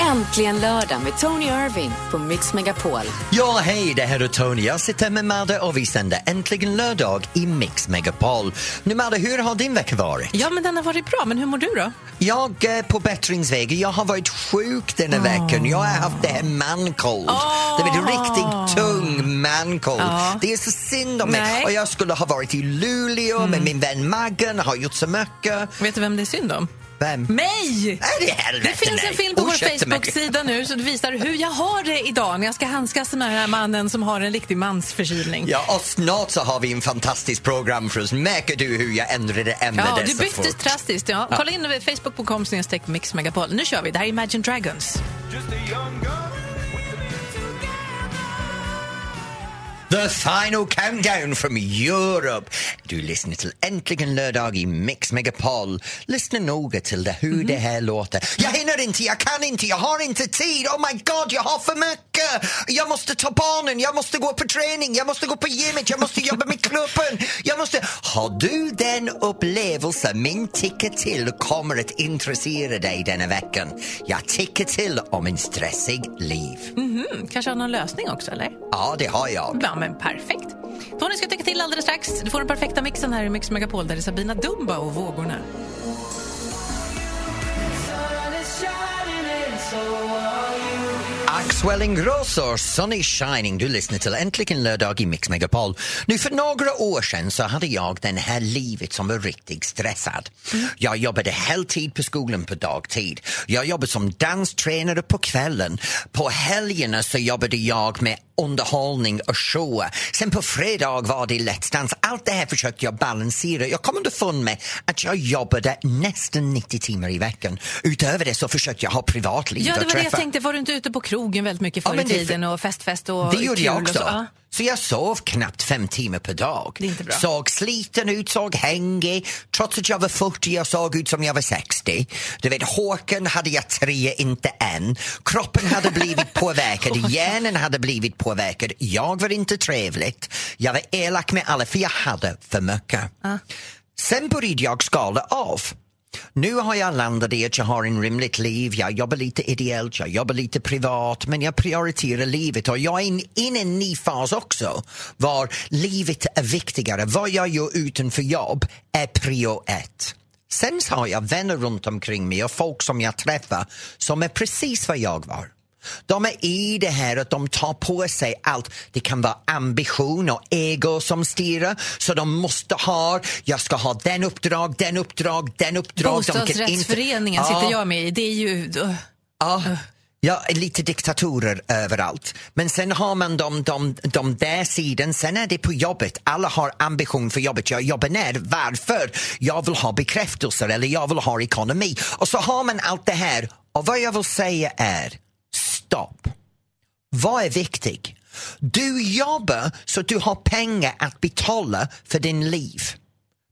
Äntligen lördag med Tony Irving på Mix Megapol. Ja, hej, det här är Tony. Jag sitter med Madde och vi sänder äntligen lördag i Mix Megapol. Nu Madde, hur har din vecka varit? Ja, men den har varit bra. Men hur mår du då? Jag är på bättringsvägen. Jag har varit sjuk den här veckan. Jag har haft det här mancold. Det är en riktigt tung mancold. Det är så synd om mig. Nej. Mm. Och jag skulle ha varit i Luleå med min vän Maggan har gjort så mycket. Vet du vem det är synd om? Vem? Mig! Nej, det är helvete, Det finns nej. en film på vår Ursäkta mig. Facebook-sida nu som visar hur jag har det idag när jag ska handskas med den här mannen som har en riktig mansförkylning. Ja, och snart så har vi en fantastiskt program för oss. Märker du hur jag ändrade ämnet Ja, där du så bytte fort? drastiskt. Ja. Kolla in över facebook.com snedstreck mixmegapol. Nu kör vi. Det här är Imagine Dragons. The final countdown from Europe. Du lyssnar till Äntligen lördag i Mix Megapol. Lyssna noga till det, hur det här låter. Jag hinner inte, jag kan inte, jag har inte tid. Oh my god, jag har för mycket. Jag måste ta barnen, jag måste gå på träning, jag måste gå på gymmet, jag måste jobba med klubben. Jag måste... Har du den upplevelsen min ticker till kommer att intressera dig denna veckan? Jag ticker till om en stressig liv. Mm, kanske har någon lösning också, eller? Ja, det har jag. Ja, men perfekt. Tony ska tycka till alldeles strax. Du får den perfekta mixen här i Mix Megapol där det är Sabina Dumba och Vågorna. Axel Ingrosso, Sun is shining. Du lyssnar till Äntligen lördag i Mix Megapol. Nu för några år sedan så hade jag den här livet som var riktigt stressad. Mm. Jag jobbade heltid på skolan på dagtid. Jag jobbade som danstränare på kvällen. På helgerna så jobbade jag med underhållning och show. Sen på fredag var det Let's Dance. Allt det här försökte jag balansera. Jag kom underfund med att jag jobbade nästan 90 timmar i veckan. Utöver det så försökte jag ha privatliv Ja, och det var det jag träffa tänkte. Var du inte ute på krogen väldigt mycket Ja, förr i men det- tiden och festfest och Det gjorde jag kul och också. Så, ja. Så jag sov knappt fem timmar per dag. Det är inte bra. Såg sliten ut, såg hängig. Trots att jag var 40, jag såg ut som jag var 60. Du vet, håken hade jag tre, inte en. Kroppen hade blivit påverkad, hjärnan hade blivit påverkad. Jag var inte trevligt. Jag var elak med alla, för jag hade för mycket. Sen började jag skala av. Nu har jag landat i att jag har en rimligt liv. Jag jobbar lite ideellt, jag jobbar lite privat men jag prioriterar livet och jag är in- inne i en ny fas också var livet är viktigare. Vad jag gör utanför jobb är prio ett. Sen så har jag vänner runt omkring mig och folk som jag träffar som är precis vad jag var. De är i det här att de tar på sig allt. Det kan vara ambition och ego som styr. Så de måste ha, jag ska ha den uppdrag, den uppdrag, den uppdrag. De kan inte- Bostadsrättsföreningen sitter jag med i. Det är ju... Ugh. Ja, ja, lite diktatorer överallt. Men sen har man de, de, de där sidan, sen är det på jobbet. Alla har ambition för jobbet. Jag jobbar när, varför? Jag vill ha bekräftelser eller jag vill ha ekonomi. Och så har man allt det här. Och vad jag vill säga är, stopp. Vad är viktigt? Du jobbar så att du har pengar att betala för din liv.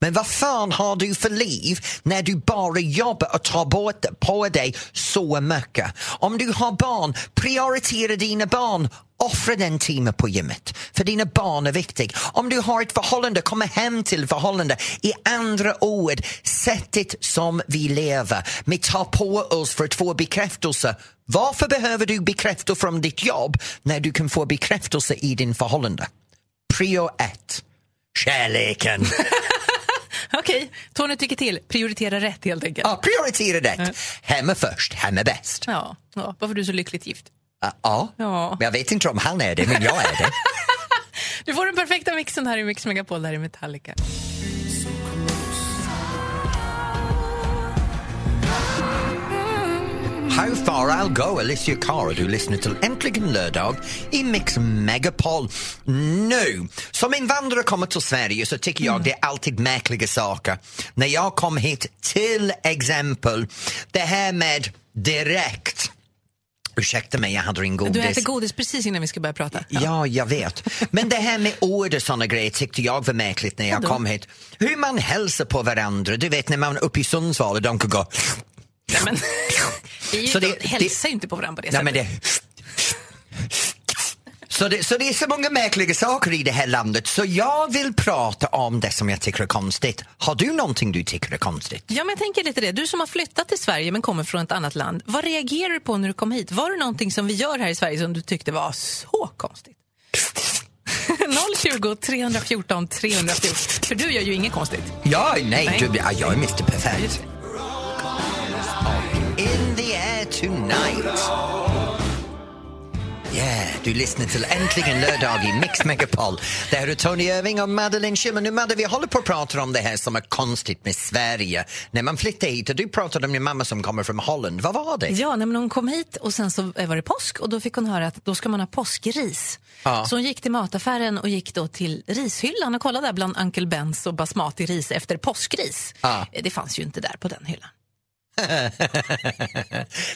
Men vad fan har du för liv när du bara jobbar och tar bort det på dig så mycket? Om du har barn, prioritera dina barn. Offra den timmen på gymmet, för dina barn är viktiga. Om du har ett förhållande, kom hem till förhållande. I andra ord, sättet som vi lever. Vi tar på oss för att få bekräftelse. Varför behöver du bekräftelse från ditt jobb när du kan få bekräftelse i din förhållande? Prio ett, kärleken. Okej, Tony tycker till. Prioritera rätt helt enkelt. Ja, prioritera det. Hemma först, hemma bäst. Ja, ja. Varför är du så lyckligt gift? Ja, Ja. Ja. Men jag vet inte om han är det, men jag är det. Du får den perfekta mixen här i Mix Megapol, där är Metallica. How far I'll go, Alicia Cara. Du lyssnar till Äntligen lördag i Mix Megapol. Nu, som invandrare kommer till Sverige så tycker Mm. jag det är alltid märkliga saker. När jag kom hit, till exempel, det här med direkt. Ursäkta mig, jag hade en godis. Du äter godis precis innan vi ska börja prata. Ja, jag vet. Men det här med ord och såna grejer tyckte jag var märkligt när jag kom hit. Hur man hälsar på varandra. Du vet när man är uppe i Sundsvall och de kan gå... Nej, men, vi är ju Så inte- det- hälsar ju inte på varandra på det Nej, sättet. men det... Så det, så det är så många märkliga saker i det här landet så jag vill prata om det som jag tycker är konstigt. Har du någonting du tycker är konstigt? Ja, men jag tänker lite det. Du som har flyttat till Sverige men kommer från ett annat land. Vad reagerar du på när du kom hit? Var det någonting som vi gör här i Sverige som du tyckte var så konstigt? 020 314 314. För du gör ju inget konstigt. Ja, nej, Nej. Du, ja, jag är Mr Perfect. In the air tonight. Yeah, du lyssnar till Äntligen lördag i Mix Megapol. Det här är Tony Irving och Madeleine Schulman. Nu Madde, vi håller på att prata om det här som är konstigt med Sverige. När man flyttade hit och du pratade om din mamma som kommer från Holland. Vad var det? Ja, nej, men hon kom hit och sen så eh, var det påsk och då fick hon höra att då ska man ha påskris. Ja. Så hon gick till mataffären och gick då till rishyllan och kollade där bland Uncle Bens och basmati-ris efter påskris. Ja. Eh, Det fanns ju inte där på den hyllan.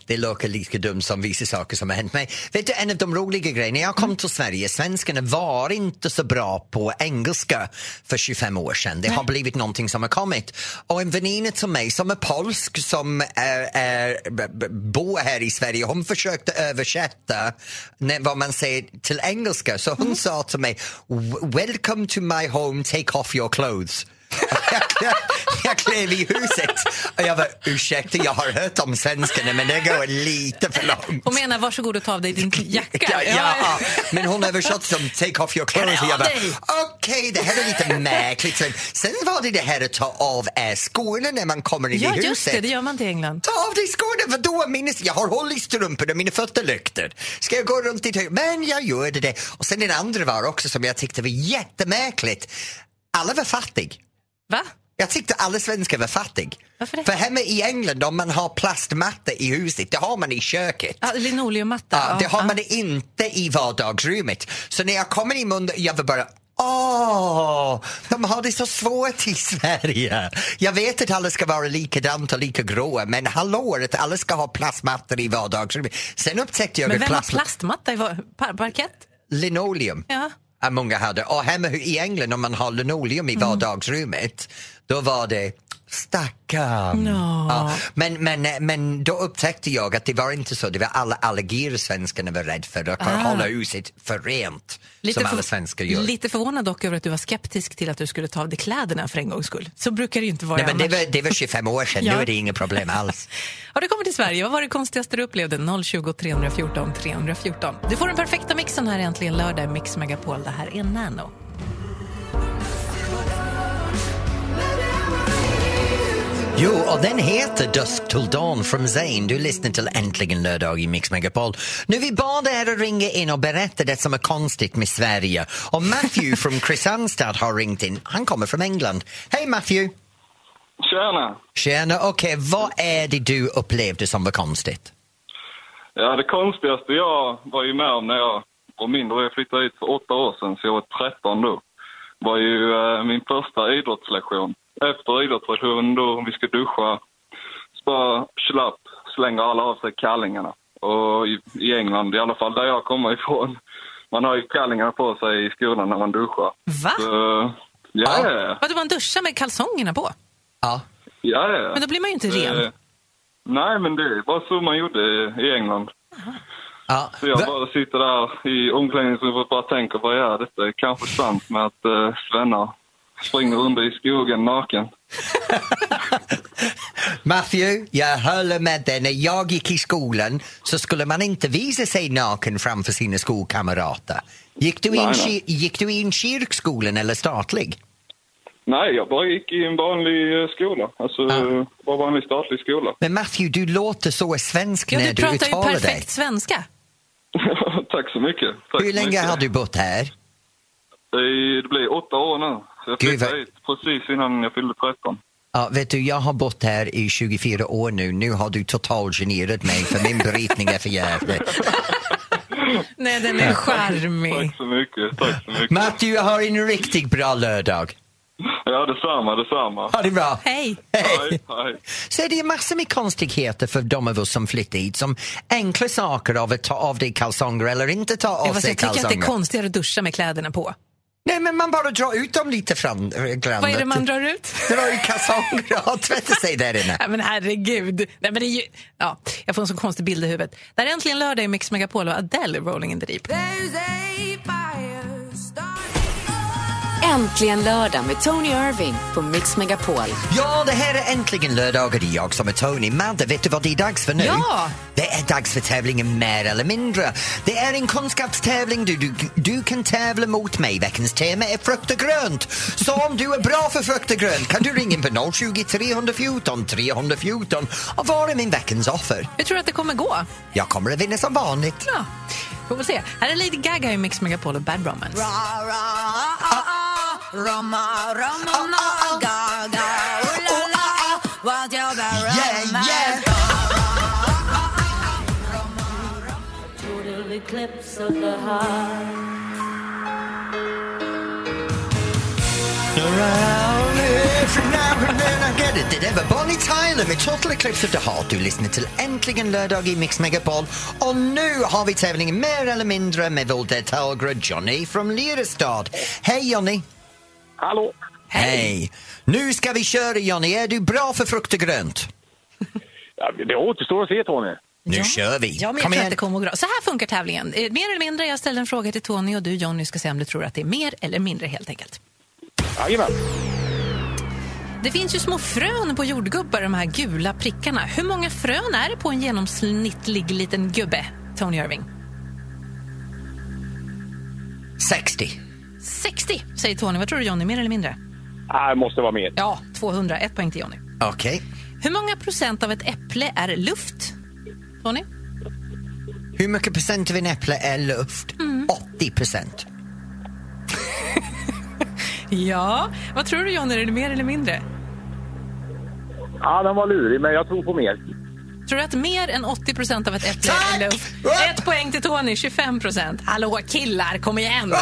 Det låter lika dumt som vissa saker som har hänt mig. Vet du, en av de roliga grejerna, jag kom till Sverige, svenskarna var inte så bra på engelska för 25 år sedan. Det har blivit någonting som har kommit. Och en väninna till mig som är polsk, som är, är, b- b- bor här i Sverige, hon försökte översätta när, vad man säger till engelska. Så hon sa till mig, “Welcome to my home, take off your clothes”. jag, jag klev i huset och jag var ursäkta, jag har hört om svenskarna men det går lite för långt. Hon menar varsågod och ta av dig din jacka. Ja, ja, ja. Men hon översatte som take off your clothes och jag bara Nej. okej det här är lite märkligt. Sen, sen var det det här att ta av eh, skorna när man kommer in ja i just huset. det, det gör man till England. Ta av dig skorna, vadå? Mina, jag har hål i strumporna, mina fötter luktar. Ska jag gå runt i töj? Men jag gjorde det. Och sen den andra var också som jag tyckte var jättemärkligt. Alla var fattiga. Va? Jag tyckte alla svenskar var fattig. Varför det? För hemma i England, om man har plastmatta i huset, det har man i köket. Ah, Linoleummatta. Ja, det Ja, har ja. man inte i vardagsrummet. Så när jag kommer in under, jag var bara Åh, de har det så svårt i Sverige. Jag vet att alla ska vara likadant och lika gråa men hallå, att alla ska ha plastmattor i vardagsrummet. Sen upptäckte jag Men att vem har plastmatta i var- par- parkett? linoleum. Ja. Ja, Äh, Många hade. Och hemma i England om man har linoleum Mm. i vardagsrummet då var det stackarn. Ja. Ja, men, men, men då upptäckte jag att det var inte så. Det var alla allergier svenskarna var rädda för. Att Ah. hålla huset för rent som alla för- svenskar gör. Lite förvånad dock över att du var skeptisk till att du skulle ta av dig kläderna för en gångs skull. Så brukar det ju inte vara Nej, men det, annars. var, det var 25 år sedan. Ja. Nu är det inga problem alls. Har du kommit till Sverige? Vad var det konstigaste du upplevde? 020 314 314. Du får den perfekta mixen här äntligen lördag i Mix Megapol. Det här är Nano. Jo, och den heter Dusk till Dawn from Zayn. Du lyssnar till Äntligen lördag i Mix Megapol. Nu vi bad er att ringa in och berätta det som är konstigt med Sverige. Och Matthew från Kristianstad har ringt in. Han kommer från England. Hej Matthew! Tjena! Tjena, okej, vad är det du upplevde som var konstigt? Ja, det konstigaste jag var ju med om när jag var mindre och jag flyttade hit för åtta år sedan, så jag var 13 då, var ju eh, min första idrottslektion. Efter idrottslektionen då, vi ska duscha, så bara slapp slänger alla av sig kallingarna. Och i, i England, i alla fall där jag kommer ifrån, man har ju kallingarna på sig i skolan när man duschar. Va? Så, ja, Ja. ja, Vadå, man duschar med kalsongerna på? Ja. ja, ja. Men då blir man ju inte Eh, ren. Nej, men det var så man gjorde i England. ja. Så jag Va- bara sitter där i omklädningsrummet och bara tänker, vad är detta? Det Kanske sant med att uh, svennar springer under i skogen naken. Matthew, jag håller med dig. När jag gick i skolan så skulle man inte visa sig naken framför sina skolkamrater. Gick du i en, Nej, nej. ki- gick du i en kyrkskolan eller statlig? Nej, jag bara gick i en vanlig eh, skola. Alltså, Ah. bara vanlig statlig skola. Men Matthew, du låter så svensk Ja, när du du pratar ju uttalar perfekt dig. svenska. Tack så mycket. Tack Hur så länge mycket. har du bott här? Eh, Det blir åtta år nu. Så jag Gud, flyttade vad- hit precis innan jag fyllde 13. Ja, vet du, jag har bott här i 24 år nu. Nu har du totalgenerat mig för min brytning är för jävlig. Nej, den är charmig. Tack så mycket. Tack så mycket. Matthew, jag har en riktigt bra lördag. Ja, detsamma, detsamma. Ha det bra. Hej! Hej, hej. Så det är massor med konstigheter för de av oss som flyttar hit som enkla saker av att ta av dig kalsonger eller inte ta av Fast sig jag tycker att det kalsonger. är konstigare att duscha med kläderna på. Nej men man bara drar ut dem lite fram Vad är det man drar ut? Drar ut kalsonger och tvättar sig där inne. Nej, men herregud. Nej, men det är ju... ja, jag får en så konstig bild i huvudet. Det här är äntligen lördag i Mix Megapol och Adele, Rolling in the Deep. There's a Äntligen lördag med Tony Irving på Mix Megapol. Ja, det här är äntligen lördagar det är jag som är Tony. Madde, vet du vad det är dags för nu? Ja! Det är dags för tävlingen Mer eller mindre. Det är en kunskapstävling. Du, du, du kan tävla mot mig. Veckans tema är frukt och grönt. Så om du är bra för frukt och grönt kan du ringa in på 020 314 314 och vara min veckans offer. Hur tror du att det kommer gå? Jag kommer att vinna som vanligt. Ja, får väl se. Här är Lady Gaga i Mix Megapol och Bad Romance. Yeah, yeah! Around every now and then I get it. Det där var Bonnie Tyler med Total Eclipse of the Heart. Du lyssnar till Äntligen lördag i Mix Megapol. Och nu har vi tävlingen Mer eller mindre med vår deltagare Johnny från Lyrestad. Hej Johnny! Hallå! Hej! Nu ska vi köra Johnny. Är du bra för frukt och grönt? Ja, det återstår att se, Tony. Nu kör vi! Ja, men Kom jag tror att igen. det kommer att gå bra. Så här funkar tävlingen. Eh, Mer eller mindre, jag ställer en fråga till Tony och du Johnny ska säga om du tror att det är mer eller mindre helt enkelt. Jajamän. Det finns ju små frön på jordgubbar, de här gula prickarna. Hur många frön är det på en genomsnittlig liten gubbe, Tony Irving? 60. 60, säger Tony. Vad tror du Johnny, mer eller mindre? Ah, det måste vara mer. Ja, 200. Ett poäng till Johnny. Okej. Hur många procent av ett äpple är luft? Tony? Hur mycket procent av en äpple är luft? Mm. 80 procent. Ja. Vad tror du Johnny, är det mer eller mindre? Ja, den var lurig, men jag tror på mer. Tror du att mer än 80 procent av ett äpple Tack! är luft? Ett poäng till Tony, 25 procent. Hallå killar, kom igen!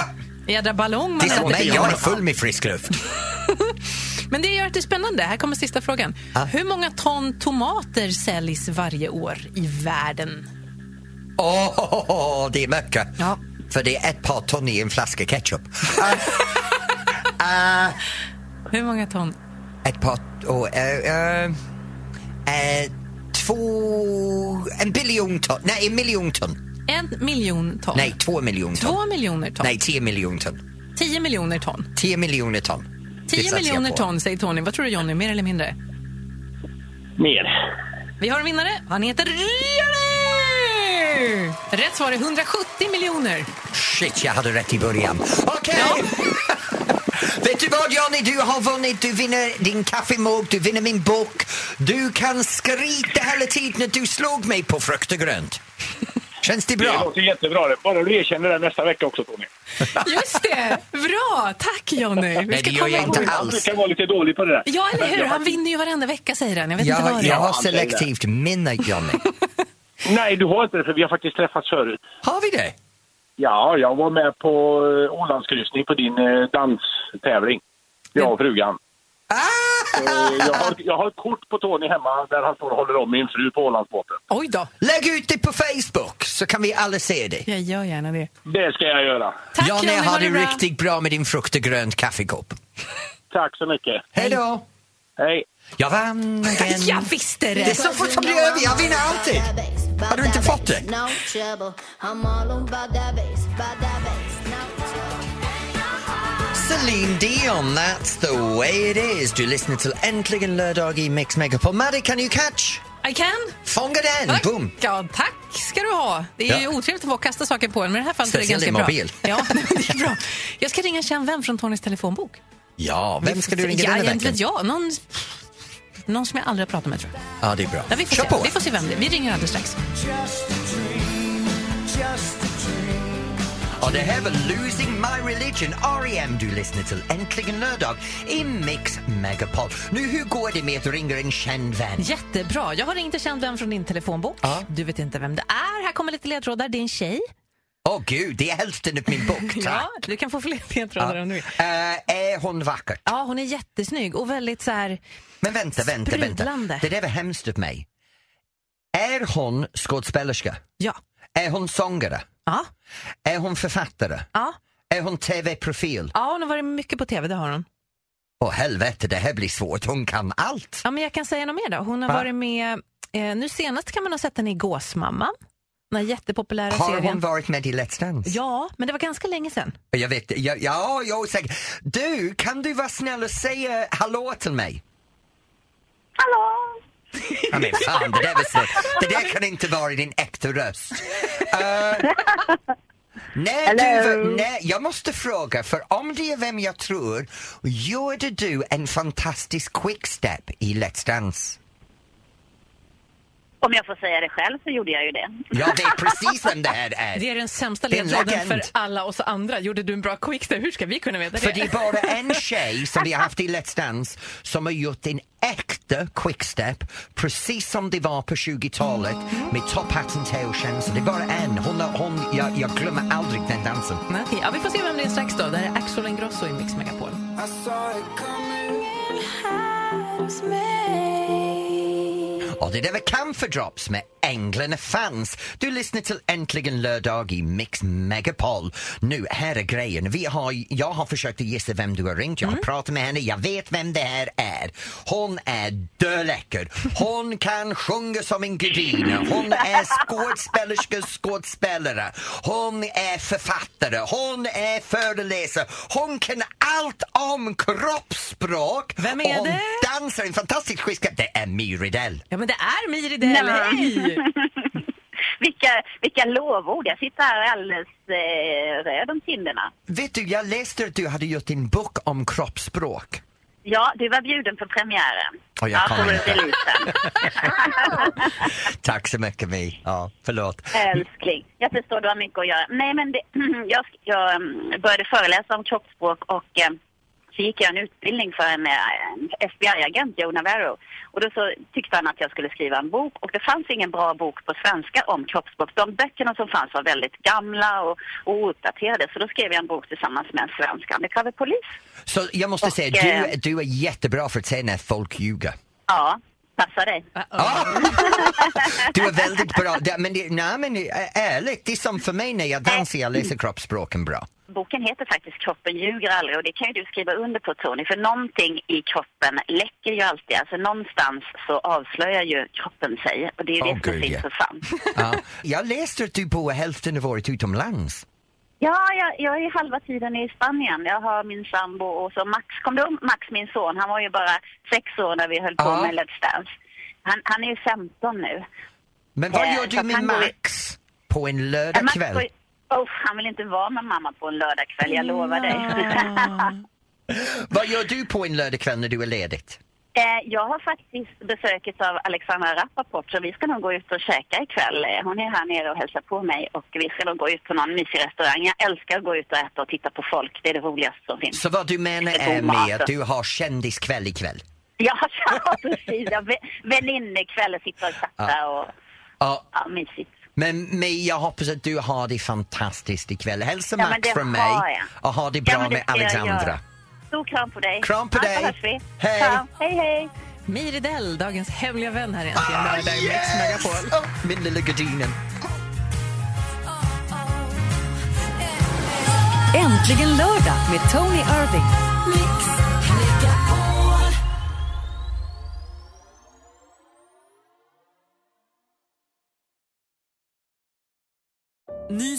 Jädra ballong man Ah! Det är sätter som mig, till jag Johnny. är full med frisk luft. Men det gör att det är spännande. Här kommer sista frågan. Ja. Hur många ton tomater säljs varje år i världen? Åh, det är mycket. Ja. För det är ett par ton i en flaska ketchup. Ah, Eh, eh, Hur många ton? ett par... Oh, eh, eh, eh, två... En biljon ton. Nej, en miljon ton. En miljon ton. Nej, två miljon ton. Två miljoner ton. Nej, tio miljon ton. Tio miljoner ton. Tio miljoner ton. Det Tio satsar jag miljoner på. ton säger Tony. Vad tror du Johnny, mer eller mindre? Mer. Vi har en vinnare. Han heter Johnny! Rätt svar är 170 miljoner. Shit, jag hade rätt i början. Okej! Vet du vad Johnny, du har vunnit. Du vinner din kaffemugg, du vinner min bok. Du kan skrika hela tiden att du slog mig på frukt och grönt. Känns det Det bra? låter jättebra. det. Bara du erkänner det nästa vecka också, Tony. Just det! Bra! Tack Johnny! Vi Nej, ska det gör komma jag inte ihåg. alls. Han brukar vara lite dålig på det där. Ja, eller hur? Men jag- Han vinner ju varenda vecka säger han. Jag vet inte Jag, vad det jag är. har selektivt minne, Johnny. Nej, du har inte det, för vi har faktiskt träffats förut. Har vi det? Ja, jag var med på eh, Ålandskryssning på din eh, danstävling. Jag och frugan. Ah! Eh, Jag har, jag har ett kort på Tony hemma där han står och håller om min fru på Ålandsbåten. Oj då! Lägg ut det på Facebook så kan vi alla se det. Jag gör gärna det. Det ska jag göra. Tack Johnny, ha har det du bra. riktigt bra med din frukt och grönt kaffekopp. Tack så mycket. Hej då! Hej. Jag vann igen. Jag visste Det är det! så fort som det är över, jag vinner alltid! Har du inte fått det? Celine Dion, that's the way it is. Du lyssnar till Äntligen lördag i Mix Megapol. Madde, can you catch? I can! Fånga den! Tack. Boom! Ja, tack ska du ha. Det är ju Ja. otrevligt att få kasta saker på en, men i det här fallet är det Speciellt ganska i bra. mobil. Ja, det är bra. Jag ska ringa en känd vän från Tonys telefonbok. Ja, vem ska du ringa ja, denna jag, inte veckan? vet jag. Någon, någon som jag aldrig har pratat med, tror jag. Ja, det är bra. Ja, vi, får Kör se. på! vi får se vem det är. Vi ringer alldeles strax. Och det här var Losing My Religion, R.E.M. Du lyssnar till Äntligen lördag i Mix Megapol. Nu, hur går det med att ringa en känd vän? Jättebra. Jag har ringt en känd vän från din telefonbok. Ja. Du vet inte vem det är. Här kommer lite ledtrådar. Det är en tjej. Åh gud, det är hälften av min bok, tack! Ja, du kan få fler ledtrådar om du vill. Eh, är hon vacker? Ja, hon är jättesnygg och väldigt så här... Men vänta, vänta, vänta. Sprudlande. Det där var hemskt av mig. Är hon skådespelerska? Ja. Är hon sångare? Ja. Är hon författare? Ja. Är hon tv-profil? Ja, hon har varit mycket på tv, det har hon. Åh helvete, det här blir svårt. Hon kan allt. Ja, men jag kan säga något mer då. Hon har Va? varit med, eh, nu senast kan man ha sett henne i Gåsmamman. Den här jättepopulära Har serien. hon varit med i Let's Dance? Ja, men det var ganska länge sedan. Jag vet ja, ja, jag är säker. Du, kan du vara snäll och säga hallå till mig? Hallå! Ja, men fan, det där var snällt. Det där kan inte vara din äkta röst. Eh, när du, Hello. när, jag måste fråga, för om det är vem jag tror, gjorde du en fantastisk quickstep i Let's Dance? Om jag får säga det själv så gjorde jag ju det. Ja, det är precis vem det här är. Det är den sämsta Det är en ledtråden för legend. alla oss andra. Gjorde du en bra quickstep? Hur ska vi kunna veta För det det? är bara en tjej som vi har haft i Let's Dance som har gjort en äkta quickstep precis som det var på 20-talet med topphatten till och känslan. Det är bara en. Hon, har- hon, jag, jag glömmer aldrig den dansen. Nej, okej. Ja, vi får se vem det är strax då. Det här är Axel Ingrosso i Mix Megapol. Och det där var Camphor Drops med Änglarna Fans. Du lyssnar till Äntligen lördag i Mix Megapol. Nu, här är grejen. Vi har, jag har försökt att gissa vem du har ringt. Jag Mm. har pratat med henne. Jag vet vem det här är. Hon är döläcker. Hon kan sjunga som en gudinna. Hon är skådespelerska, skådespelare. Hon är författare. Hon är föreläsare. Hon kan allt om kroppsspråk. Vem är Och hon det? dansar en fantastisk skiskat. Det är Myridell. Ja, men det är Miri Dell. Hej! Vilka, vilka lovord! Jag sitter här alldeles eh, röd om kinderna. Vet du, jag läste att du hade gjort en bok om kroppsspråk. Ja, du var bjuden på premiären. Och jag ja, kommer på inte. releasen. Tack så mycket Mi. Ja, förlåt. Älskling, jag förstår du har mycket att göra. Nej, men det, jag, sk- jag mm, började föreläsa om kroppsspråk och eh, så gick jag en utbildning för en, eh, en FBI-agent, Joe Navarro. Och då så tyckte han att jag skulle skriva en bok och det fanns ingen bra bok på svenska om kroppsspråk. De böckerna som fanns var väldigt gamla och, och ouppdaterade så då skrev jag en bok tillsammans med en svensk undercoverpolis. Så jag måste Och, säga, eh, du, du är jättebra för att säga när folk ljuger. Ja, passar dig. Ah! Du är väldigt bra. Det- Men, det, nej, men det- ä- ärligt, det är som för mig när jag Eh. dansar, jag läser kroppsspråken bra. Boken heter faktiskt Kroppen ljuger aldrig och det kan ju du skriva under på Tony för någonting i kroppen läcker ju alltid. Alltså någonstans så avslöjar ju kroppen sig och det är ju Åh, det som är gud, så ja. intressant. Ja. Jag läste att du bor hälften av året utomlands. Ja, jag, jag är halva tiden i Spanien. Jag har min sambo och så Max, kom du ihåg Max min son? Han var ju bara sex år när vi höll på Ja. med Let's Dance. Han, han är ju 15 nu. Men vad Eh, gör så du att med han går i- Max på en Men lördagkväll? Max var ju- Oh, han vill inte vara med mamma på en lördagkväll, jag lovar dig. Vad gör du på en lördagkväll när du är ledigt? Eh, Jag har faktiskt besöket av Alexandra Rappaport så vi ska nog gå ut och käka ikväll. Eh, Hon är här nere och hälsar på mig och vi ska nog gå ut på någon mysig restaurang. Jag älskar att gå ut och äta och titta på folk. Det är det roligaste som finns. Så vad du menar Det är är god mat. med att du har kändiskväll ikväll? Ja, ja precis. Ja, vä- Väninnekväll och sitta och chatta och Ja, ja, mysigt. men mig, jag hoppas att du har det fantastiskt ikväll. Hälsa Ja, men Max det från mig har jag. och ha det Ja, bra men det med ska jag Alexandra. göra. Stor kram på dig. Kram på Ja, så dig. hörs vi. Hej. Ja, hej, hej. Miri Dell, dagens hemliga vän här egentligen. lördag i Mix Megapol. Åh, min lilla gardinen. Äntligen lördag med Tony Irving. Ny